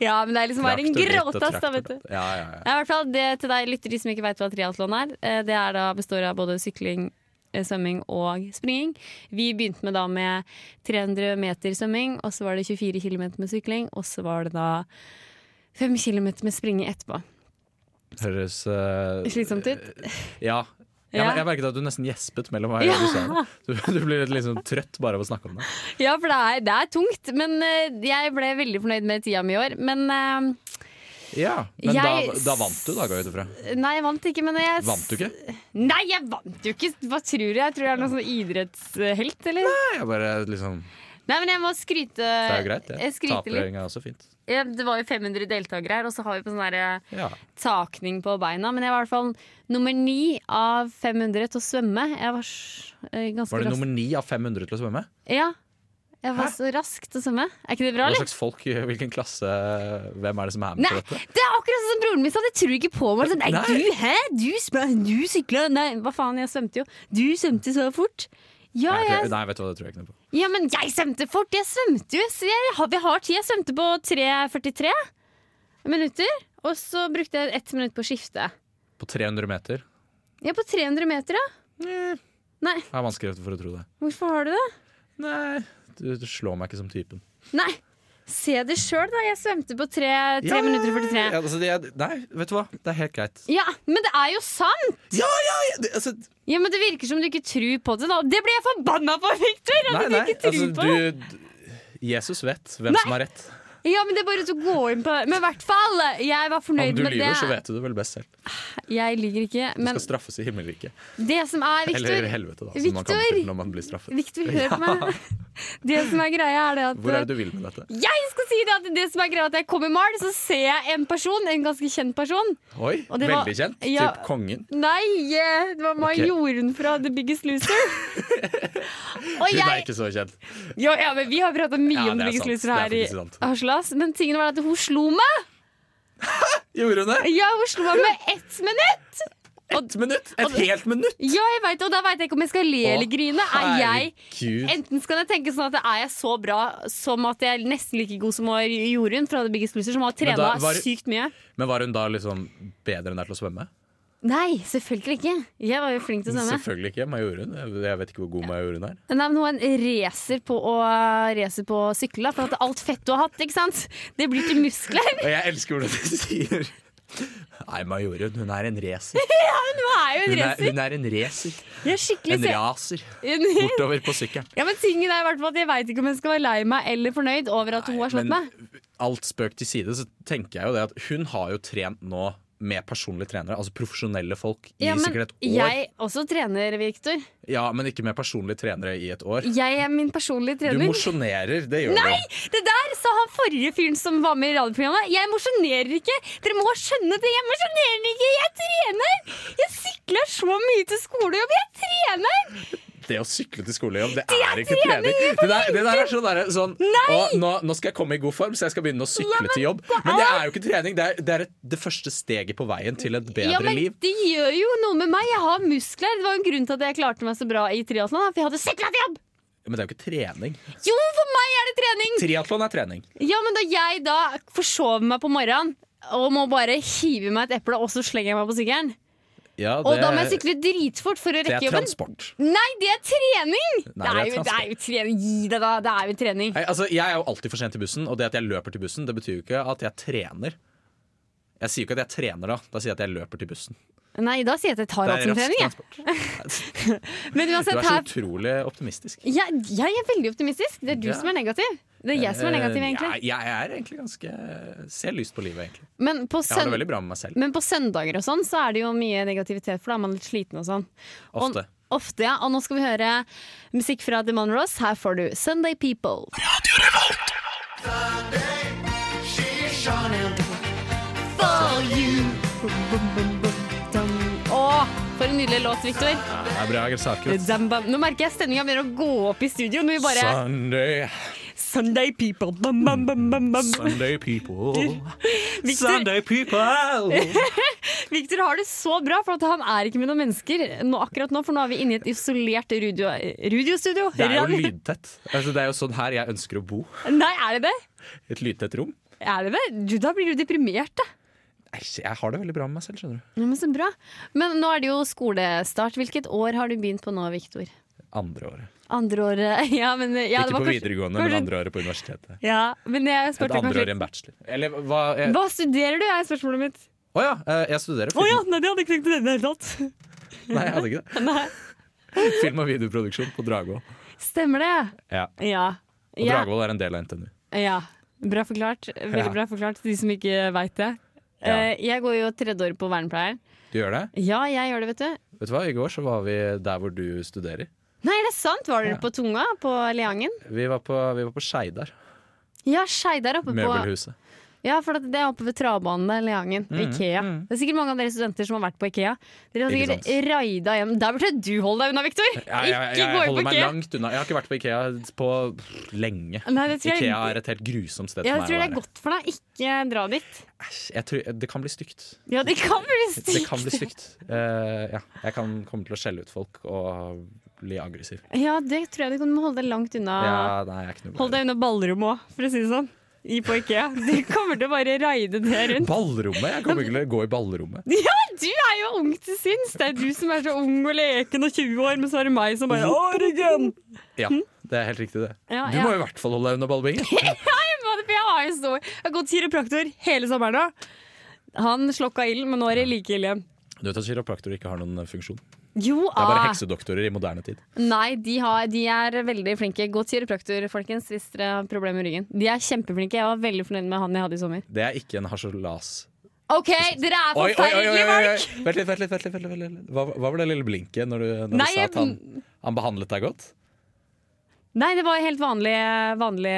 Speaker 2: Ja, men det er liksom bare en
Speaker 4: Traktor ditt og
Speaker 2: gråtass da,
Speaker 4: traktor
Speaker 2: vet du
Speaker 4: datt. Ja, ja, ja.
Speaker 2: Ja, i hvert fall det til deg lytter de som ikke vet hva triatlon er. eh, Det er da består av både sykling, eh, svømming og springing. Vi begynte med da med 300 meter svømming, og så var det 24 km med sykling, og så var det da 5 km med springing etterpå.
Speaker 4: Høres eh,
Speaker 2: Slitsomt ut?
Speaker 4: Ja. Jeg,
Speaker 2: Ja.
Speaker 4: jeg merket at du nesten gjespet mellom hva
Speaker 2: Ja.
Speaker 4: du sa. det. Du, du blir litt liksom trøtt bare av å snakke om det.
Speaker 2: Ja, for det er, det er tungt, men eh, jeg ble veldig fornøyd med tida mi i år. Men eh,
Speaker 4: Ja, Men
Speaker 2: Jeg-
Speaker 4: da, da vant du, da, går jeg ut ifra.
Speaker 2: Nei, jeg vant ikke, men jeg
Speaker 4: Vant du ikke?
Speaker 2: Nei, jeg vant jo ikke! Hva tror du? Jeg tror jeg er noen sånn idrettshelt, eller?
Speaker 4: Nei, jeg bare liksom
Speaker 2: Nei, men jeg må skryte.
Speaker 4: Det er jo greit, det.
Speaker 2: Eh, Jeg skryter litt.
Speaker 4: Taperøyinga er også fint.
Speaker 2: Ja, Det var jo 500 deltakere her, og så har vi på sånn derre
Speaker 4: Ja.
Speaker 2: takning på beina. Men jeg var i hvert fall nummer ni av 500 til å svømme. Jeg var s- eh, ganske
Speaker 4: Var det
Speaker 2: rask.
Speaker 4: nummer ni av 500 til å svømme?
Speaker 2: Ja. Jeg var
Speaker 4: Hæ?
Speaker 2: så rask til å svømme. Er ikke det bra,
Speaker 4: Hva
Speaker 2: eller?
Speaker 4: slags folk, eh, hvilken klasse, hvem er det som er med
Speaker 2: Nei,
Speaker 4: på dette?
Speaker 2: det er akkurat sånn som broren min sa! Det tror ikke på meg. Sånn, nei,
Speaker 4: Nei.
Speaker 2: du, hæ? Du, sprang- du sykla Nei, hva faen, jeg svømte jo. Du svømte så fort. Ja,
Speaker 4: Nei, det-
Speaker 2: jeg,
Speaker 4: Nei, vet du hva, det tror jeg ikke noe på.
Speaker 2: ja, men jeg svømte fort! Jeg svømte jo! Så jeg, har- vi har tid. Jeg svømte på 3,43 minutter. Og så brukte jeg ett minutt på å skifte.
Speaker 4: På 300 meter?
Speaker 2: Ja, på 300 meter, ja. Nei,
Speaker 4: Jeg har vanskeligheter for å tro det.
Speaker 2: hvorfor har du det?
Speaker 4: Nei, du, du slår meg ikke som typen.
Speaker 2: Nei, se det sjøl, da. Jeg svømte på 3,
Speaker 4: Ja, ja,
Speaker 2: minutter og 43.
Speaker 4: Ja, altså, det er- nei, vet du hva? Det er helt greit.
Speaker 2: Ja, men det er jo sant!
Speaker 4: Ja, ja, ja! det- Altså,
Speaker 2: Ja, men Det virker som du ikke tror på det. da Det blir jeg forbanna på, Victor! At
Speaker 4: nei,
Speaker 2: du
Speaker 4: nei.
Speaker 2: ikke tror
Speaker 4: Altså,
Speaker 2: på det.
Speaker 4: du, d- Jesus vet hvem som har rett.
Speaker 2: Ja, men det er bare å gå inn på Men i hvert fall, jeg var
Speaker 4: Om
Speaker 2: fornøyd
Speaker 4: du
Speaker 2: med
Speaker 4: lyver, så
Speaker 2: det.
Speaker 4: vet du det vel best selv.
Speaker 2: Jeg lyver ikke.
Speaker 4: Du
Speaker 2: Men
Speaker 4: skal straffes i himmelriket.
Speaker 2: det som er,
Speaker 4: Eller i
Speaker 2: Victor
Speaker 4: helvete, da, som man kommer
Speaker 2: Victor!
Speaker 4: til når man blir straffet.
Speaker 2: Victor, hør på meg. Det som er greia, er det at eh,
Speaker 4: Hvor er det du vil med dette?
Speaker 2: Jeg skal si det at det som er greia, er at jeg kom i mål, så ser jeg en person, en ganske kjent person.
Speaker 4: Oi,
Speaker 2: Og det var-
Speaker 4: veldig kjent.
Speaker 2: Ja.
Speaker 4: Typ kongen.
Speaker 2: Nei, eh, det var majoren fra The Biggest Loser. Og
Speaker 4: Hun er
Speaker 2: jeg,
Speaker 4: ikke så kjent.
Speaker 2: jo, ja, men vi har prata mye
Speaker 4: Ja,
Speaker 2: om
Speaker 4: det
Speaker 2: The
Speaker 4: er
Speaker 2: Biggest Loser
Speaker 4: sant.
Speaker 2: her
Speaker 4: Det er
Speaker 2: i
Speaker 4: faktisk sant.
Speaker 2: Haslas, men tingen var at hun slo meg!
Speaker 4: Gjorde hun det?
Speaker 2: Ja, hun slo meg med ett minutt!
Speaker 4: Et minutt! Et
Speaker 2: Altså,
Speaker 4: helt minutt!
Speaker 2: Ja, jeg vet, det, og da veit jeg ikke om jeg skal le eller grine. Er jeg
Speaker 4: Herregud.
Speaker 2: Enten skal jeg tenke sånn at er jeg så bra som at jeg er nesten like god som var Jorunn fra The Biggest Loser, som har
Speaker 4: Men
Speaker 2: trena
Speaker 4: da var-
Speaker 2: sykt mye.
Speaker 4: Men var hun da liksom bedre enn deg til å svømme?
Speaker 2: Nei, selvfølgelig ikke. Jeg var jo flink til å svømme.
Speaker 4: Selvfølgelig ikke. Majorun. Jeg vet ikke hvor god majorun er.
Speaker 2: Nei, men hun er en racer på å racer på å sykle, da, for at alt fett du har hatt, ikke sant? Det blir til muskler.
Speaker 4: Og jeg elsker hvordan du sier Nei, majorun, hun er en racer.
Speaker 2: Hun er jo en
Speaker 4: Hun er,
Speaker 2: racer.
Speaker 4: hun er en racer.
Speaker 2: Jeg er skikkelig
Speaker 4: En
Speaker 2: se-
Speaker 4: racer
Speaker 2: En-
Speaker 4: bortover på sykkelen.
Speaker 2: Ja, men tingen er i hvert fall at Jeg veit ikke om jeg skal være lei meg eller fornøyd over at hun har slått meg.
Speaker 4: alt spøk til side, så tenker jeg jo det at hun har jo trent nå med personlige trenere, altså profesjonelle folk, i
Speaker 2: Ja, men
Speaker 4: sikkert et år.
Speaker 2: jeg også trener, Victor.
Speaker 4: Ja, men ikke med personlige trenere i et år.
Speaker 2: Jeg er min personlige
Speaker 4: Du
Speaker 2: trener.
Speaker 4: mosjonerer, det gjør
Speaker 2: Nei!
Speaker 4: du.
Speaker 2: Det der sa han forrige fyren som var med i radioprogrammet. Jeg mosjonerer ikke! Dere må skjønne det! Jeg mosjonerer ikke! Jeg trener! Jeg sykler så mye til skolejobb! Jeg trener!
Speaker 4: Det å sykle til skolejobb, det, er ikke trening. Det der, det der er sånn, derre sånn «Å, nå, nå skal jeg komme i god form, så jeg skal begynne å sykle til jobb. Men det er jo ikke trening. Det er det, er et, det første steget på veien til et bedre
Speaker 2: Ja, men
Speaker 4: liv.
Speaker 2: Det gjør jo noe med meg. Jeg har muskler. Det var jo en grunn til at jeg klarte meg så bra i triatlon. da, For jeg hadde sykla til jobb!
Speaker 4: Men det er jo ikke trening.
Speaker 2: Jo, for meg er det trening!
Speaker 4: Triatlon er trening.
Speaker 2: Ja, men da jeg da forsover meg på morgenen og må bare hive i meg et eple, og så slenger jeg meg på sykkelen.
Speaker 4: Ja,
Speaker 2: Og da må jeg sykle dritfort for å
Speaker 4: det
Speaker 2: rekke
Speaker 4: er
Speaker 2: jobben.
Speaker 4: transport.
Speaker 2: Nei, det er trening!
Speaker 4: Nei,
Speaker 2: det,
Speaker 4: det er
Speaker 2: er jo, det
Speaker 4: transport.
Speaker 2: er jo trening. Gi deg, da. Det er jo trening.
Speaker 4: Nei, altså, jeg er jo alltid for sent til bussen, og det at jeg løper til bussen, det betyr jo ikke at jeg trener. Jeg sier jo ikke at jeg trener da, da sier jeg at jeg løper til bussen.
Speaker 2: Nei, da sier jeg at jeg tar
Speaker 4: Det
Speaker 2: alt
Speaker 4: er
Speaker 2: som
Speaker 4: rask
Speaker 2: trening. Jeg.
Speaker 4: transport.
Speaker 2: Men
Speaker 4: Du
Speaker 2: uansett,
Speaker 4: er så
Speaker 2: her,
Speaker 4: utrolig optimistisk.
Speaker 2: jeg, jeg er veldig optimistisk. Det er du
Speaker 4: Ja.
Speaker 2: som er negativ. Det er jeg som er negativ,
Speaker 4: Eh,
Speaker 2: egentlig.
Speaker 4: Ja, jeg er egentlig ganske Ser lyst på livet, egentlig.
Speaker 2: Men på,
Speaker 4: Jeg har
Speaker 2: søn
Speaker 4: det veldig bra med meg selv.
Speaker 2: men på søndager og sånn, så er det jo mye negativitet, for da er man litt sliten og sånn. Og-
Speaker 4: Ofte.
Speaker 2: Ofte, ja. Og nå skal vi høre musikk fra The Monroes. Her får du Sunday People. Å, for en nydelig låt, Victor.
Speaker 4: Det er bra saker.
Speaker 2: Dam, bam. Nå merker jeg stemninga begynner å gå opp i studio. Når vi bare
Speaker 4: Sunday,
Speaker 2: Sunday people bam, bam, bam, bam, bam.
Speaker 4: Sunday people.
Speaker 2: Victor,
Speaker 4: Sunday people!
Speaker 2: Victor har det så bra, for at han er ikke med noen mennesker nå, akkurat nå. For nå er vi inne i et isolert rudio, rudiostudio.
Speaker 4: Det er jo
Speaker 2: Radio-
Speaker 4: lydtett. Altså, det er jo sånn her jeg ønsker å bo.
Speaker 2: Nei, er det det?
Speaker 4: Et lydtett rom.
Speaker 2: Er det det? Du, da blir du deprimert, da.
Speaker 4: Nei, Jeg har det veldig bra med meg selv, skjønner du.
Speaker 2: Ja, men så bra. Men nå er det jo skolestart. Hvilket år har du begynt på nå, Viktor?
Speaker 4: Andre året.
Speaker 2: Andre året ja, men, ja, det
Speaker 4: ikke
Speaker 2: var
Speaker 4: på
Speaker 2: kanskje-
Speaker 4: videregående,
Speaker 2: kanskje-
Speaker 4: men andre året på universitetet.
Speaker 2: Ja, men jeg
Speaker 4: Et
Speaker 2: spurte
Speaker 4: andre
Speaker 2: kanskje
Speaker 4: år i en bachelor. Eller hva Å
Speaker 2: Hva studerer du, er spørsmålet mitt.
Speaker 4: ja, eh, jeg studerer
Speaker 2: Å
Speaker 4: film.
Speaker 2: ja, nei, det hadde jeg ikke tenkt i det hele tatt.
Speaker 4: Nei, jeg hadde ikke det. Film- og videoproduksjon på Dragvoll.
Speaker 2: Stemmer det?
Speaker 4: Ja.
Speaker 2: Ja.
Speaker 4: Og
Speaker 2: Ja.
Speaker 4: Dragvoll er en del av NTNU.
Speaker 2: ja. Bra forklart. Veldig
Speaker 4: Ja.
Speaker 2: bra forklart til de som ikke veit det.
Speaker 4: Ja.
Speaker 2: Eh, Jeg går jo tredje året på vernepleieren.
Speaker 4: Du gjør det?
Speaker 2: Ja, jeg gjør det, vet du.
Speaker 4: Vet du hva, I går så var vi der hvor du studerer.
Speaker 2: Nei, er det sant? Var dere
Speaker 4: Ja.
Speaker 2: på Tunga? På Leangen?
Speaker 4: Vi var på, vi var på Skeidar.
Speaker 2: Ja, Skeidar oppe på
Speaker 4: Møbelhuset.
Speaker 2: Ja, for at det er oppe ved travbanen der, Leangen. Ikea. Det er sikkert mange av dere studenter som har vært på Ikea. Dere har
Speaker 4: Mm, Ikke
Speaker 2: sikkert raida hjem. Der burde du holde deg unna, Victor!
Speaker 4: Ja, ja, ja,
Speaker 2: ikke gå
Speaker 4: jeg
Speaker 2: inn på
Speaker 4: holder meg
Speaker 2: Ikea.
Speaker 4: langt unna. Jeg har ikke vært på Ikea på lenge.
Speaker 2: Nei, det tror jeg,
Speaker 4: Ikea er et helt grusomt sted
Speaker 2: jeg
Speaker 4: for
Speaker 2: tror det
Speaker 4: meg
Speaker 2: er
Speaker 4: å være.
Speaker 2: godt for deg. Ikke dra dit.
Speaker 4: Æsj, Jeg tror, det kan bli stygt.
Speaker 2: Ja, det kan bli
Speaker 4: Det kan bli
Speaker 2: stygt.
Speaker 4: stygt. Eh, ja. Jeg kan komme til å skjelle ut folk og bli aggressiv.
Speaker 2: Ja, det tror jeg du kan du må holde deg langt unna.
Speaker 4: Ja, nei, jeg er ikke noe
Speaker 2: Ah. Hold
Speaker 4: glad i det.
Speaker 2: deg unna ballrommet òg, for å si det sånn. I på Ikea. Du kommer til å bare raide det rundt.
Speaker 4: Ballrommet? Jeg kommer ikke til å gå i ballrommet.
Speaker 2: Ja, du er jo ung til sinns! Det er du som er så ung og leken og 20 år, men så er det meg som bare Å, ryggen!
Speaker 4: Ja, det er helt riktig, det.
Speaker 2: Ja,
Speaker 4: Du
Speaker 2: ja.
Speaker 4: må i hvert fall holde deg unna ballbingen.
Speaker 2: Fader, for jeg har jo så Jeg har gått kiropraktor hele sommeren nå. Han slokka ilden, men nå er det like ille igjen.
Speaker 4: Du vet at kiropraktorer ikke har noen funksjon. Det
Speaker 2: Jo,
Speaker 4: er bare
Speaker 2: ah.
Speaker 4: heksedoktorer i moderne tid.
Speaker 2: Nei, de, har, de er veldig flinke. Gå til kiropraktor, folkens, hvis dere har problemer med ryggen. De er kjempeflinke. Jeg var veldig fornøyd med han jeg hadde i sommer.
Speaker 4: Det er ikke en harselas.
Speaker 2: OK, dere er forferdelige folk!
Speaker 4: Vent litt, vent litt. vent litt, vent litt, vent litt. Hva, hva var det lille blinket når du, når
Speaker 2: Nei,
Speaker 4: du sa
Speaker 2: jeg-
Speaker 4: at han, han behandlet deg godt?
Speaker 2: Nei, det var helt vanlig, vanlig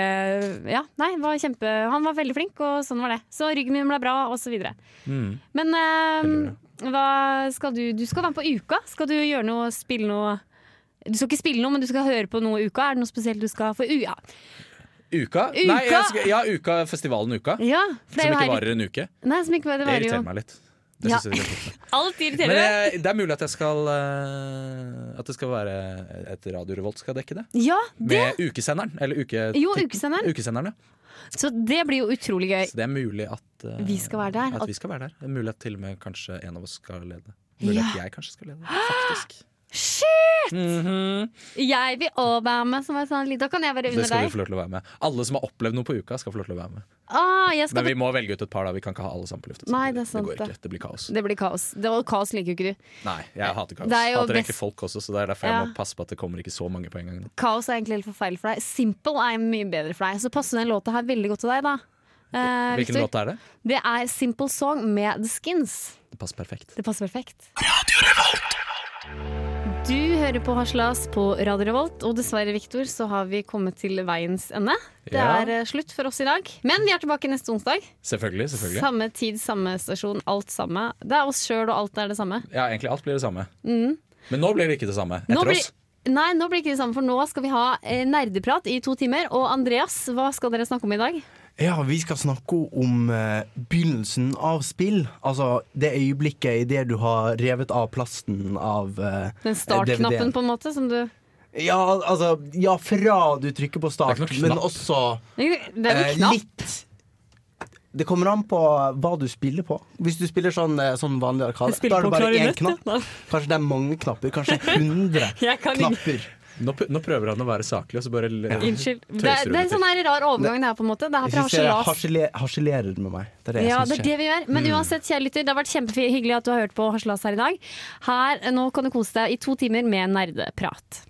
Speaker 2: Ja, nei, det var kjempe Han var veldig flink, og sånn var det. Så ryggen min ble bra, og så videre.
Speaker 4: Mm.
Speaker 2: Men eh, hva skal du Du skal være med på Uka. Skal du gjøre noe, spille noe Du skal ikke spille noe, men du skal høre på noe i Uka. Er det noe spesielt du skal For u- ja.
Speaker 4: Uka? Nei, jeg skal, ja, uka, festivalen Uka.
Speaker 2: ja for det
Speaker 4: Som
Speaker 2: er jo
Speaker 4: ikke
Speaker 2: her
Speaker 4: varer en uke.
Speaker 2: Nei, som ikke var, det
Speaker 4: Det
Speaker 2: var jo
Speaker 4: irriterer meg litt. Det
Speaker 2: Ja.
Speaker 4: synes jeg det er litt fint.
Speaker 2: Alt
Speaker 4: Men
Speaker 2: irriterer deg.
Speaker 4: eh, det er mulig at jeg skal eh, At det skal være et Radio Revolt skal dekke det.
Speaker 2: Ja, det
Speaker 4: Med ukesenderen. Eller uke,
Speaker 2: Jo, ukesenderen.
Speaker 4: ukesenderen. ja.
Speaker 2: Så det blir jo utrolig gøy.
Speaker 4: Så det er mulig at, eh,
Speaker 2: Vi skal være der.
Speaker 4: at vi skal være der. Det er mulig at til og med kanskje en av oss skal lede. Mulig at jeg kanskje skal lede, faktisk. Shit!
Speaker 2: Mm-hmm. Jeg vil òg være med, som er sånn litt- Da kan jeg være
Speaker 4: Det
Speaker 2: under
Speaker 4: skal du
Speaker 2: deg.
Speaker 4: få lov til å være med. Alle som har opplevd noe på uka, skal få lov til å være med.
Speaker 2: Ah, jeg skal
Speaker 4: Men vi må velge ut et par, da. Vi kan ikke ha alle sammen på lufta.
Speaker 2: Nei, det er sant,
Speaker 4: det går
Speaker 2: det.
Speaker 4: ikke. Det blir kaos.
Speaker 2: Det blir kaos. Det var kaos liker jo ikke du.
Speaker 4: Nei, jeg hater kaos.
Speaker 2: Det er
Speaker 4: Jeg
Speaker 2: jo
Speaker 4: hater
Speaker 2: best-
Speaker 4: egentlig folk også, så det er derfor jeg
Speaker 2: Ja.
Speaker 4: må passe på at det kommer ikke så mange på en gang.
Speaker 2: Kaos er egentlig helt forferdelig for deg. Simple er mye bedre for deg. Så passer den låta her veldig godt til deg, da. Eh,
Speaker 4: Hvilken
Speaker 2: Victor,
Speaker 4: låt er det?
Speaker 2: det er Simple Song med The Skins.
Speaker 4: Det passer perfekt.
Speaker 2: Det passer perfekt. Du hører på Haslas på Radio Revolt, og dessverre, Viktor, så har vi kommet til veiens ende. Det
Speaker 4: Ja.
Speaker 2: er eh, slutt for oss i dag, men vi er tilbake neste onsdag.
Speaker 4: Selvfølgelig. selvfølgelig.
Speaker 2: Samme tid, samme stasjon, alt samme. Det er oss sjøl, og alt er det samme.
Speaker 4: Ja, egentlig alt blir det samme. Men nå blir det ikke det
Speaker 2: Mm.
Speaker 4: samme.
Speaker 2: Nå
Speaker 4: Etter
Speaker 2: blir-
Speaker 4: oss.
Speaker 2: Nei, nå blir det ikke det samme, for nå skal vi ha eh, nerdeprat i to timer. Og Andreas, hva skal dere snakke om i dag?
Speaker 5: Ja, vi skal snakke om eh, begynnelsen av spill. Altså det øyeblikket idet du har revet av plasten av eh,
Speaker 2: Den startknappen,
Speaker 5: DVD-en.
Speaker 2: på en måte, som du
Speaker 5: Ja, altså Ja, fra du trykker på start,
Speaker 4: Det er ikke noen
Speaker 5: men
Speaker 4: knapp.
Speaker 5: også
Speaker 2: Det er jo
Speaker 5: eh,
Speaker 2: en knapp.
Speaker 5: litt Det kommer an på hva du spiller på. Hvis du spiller sånn, eh, sånn vanlig
Speaker 2: Jeg
Speaker 5: arkade,
Speaker 2: spiller
Speaker 5: da er det
Speaker 2: på
Speaker 5: bare én
Speaker 2: klarinett,
Speaker 5: knapp.
Speaker 2: ja.
Speaker 5: Kanskje det er mange knapper. Kanskje 100
Speaker 2: Jeg kan ikke-
Speaker 5: knapper.
Speaker 4: Nå, pr- nå prøver han å være saklig, og så bare
Speaker 2: Unnskyld. Det,
Speaker 4: Tøyser
Speaker 2: er-
Speaker 4: du
Speaker 2: det er en
Speaker 4: litt?
Speaker 2: sånn her rar overgang, det her, på en måte. Det er
Speaker 5: Jeg
Speaker 2: fra
Speaker 5: syns dere
Speaker 2: Harselas.
Speaker 5: harsele- harselerer med meg. Det Mm. er det jeg
Speaker 2: Ja,
Speaker 5: synes
Speaker 2: det er
Speaker 5: skjer.
Speaker 2: det vi gjør. Men uansett, kjære lytter, det har vært eh, kjempehyggelig at du har hørt på Harselas her i dag. Her, Nå kan du kose deg i to timer med nerdeprat.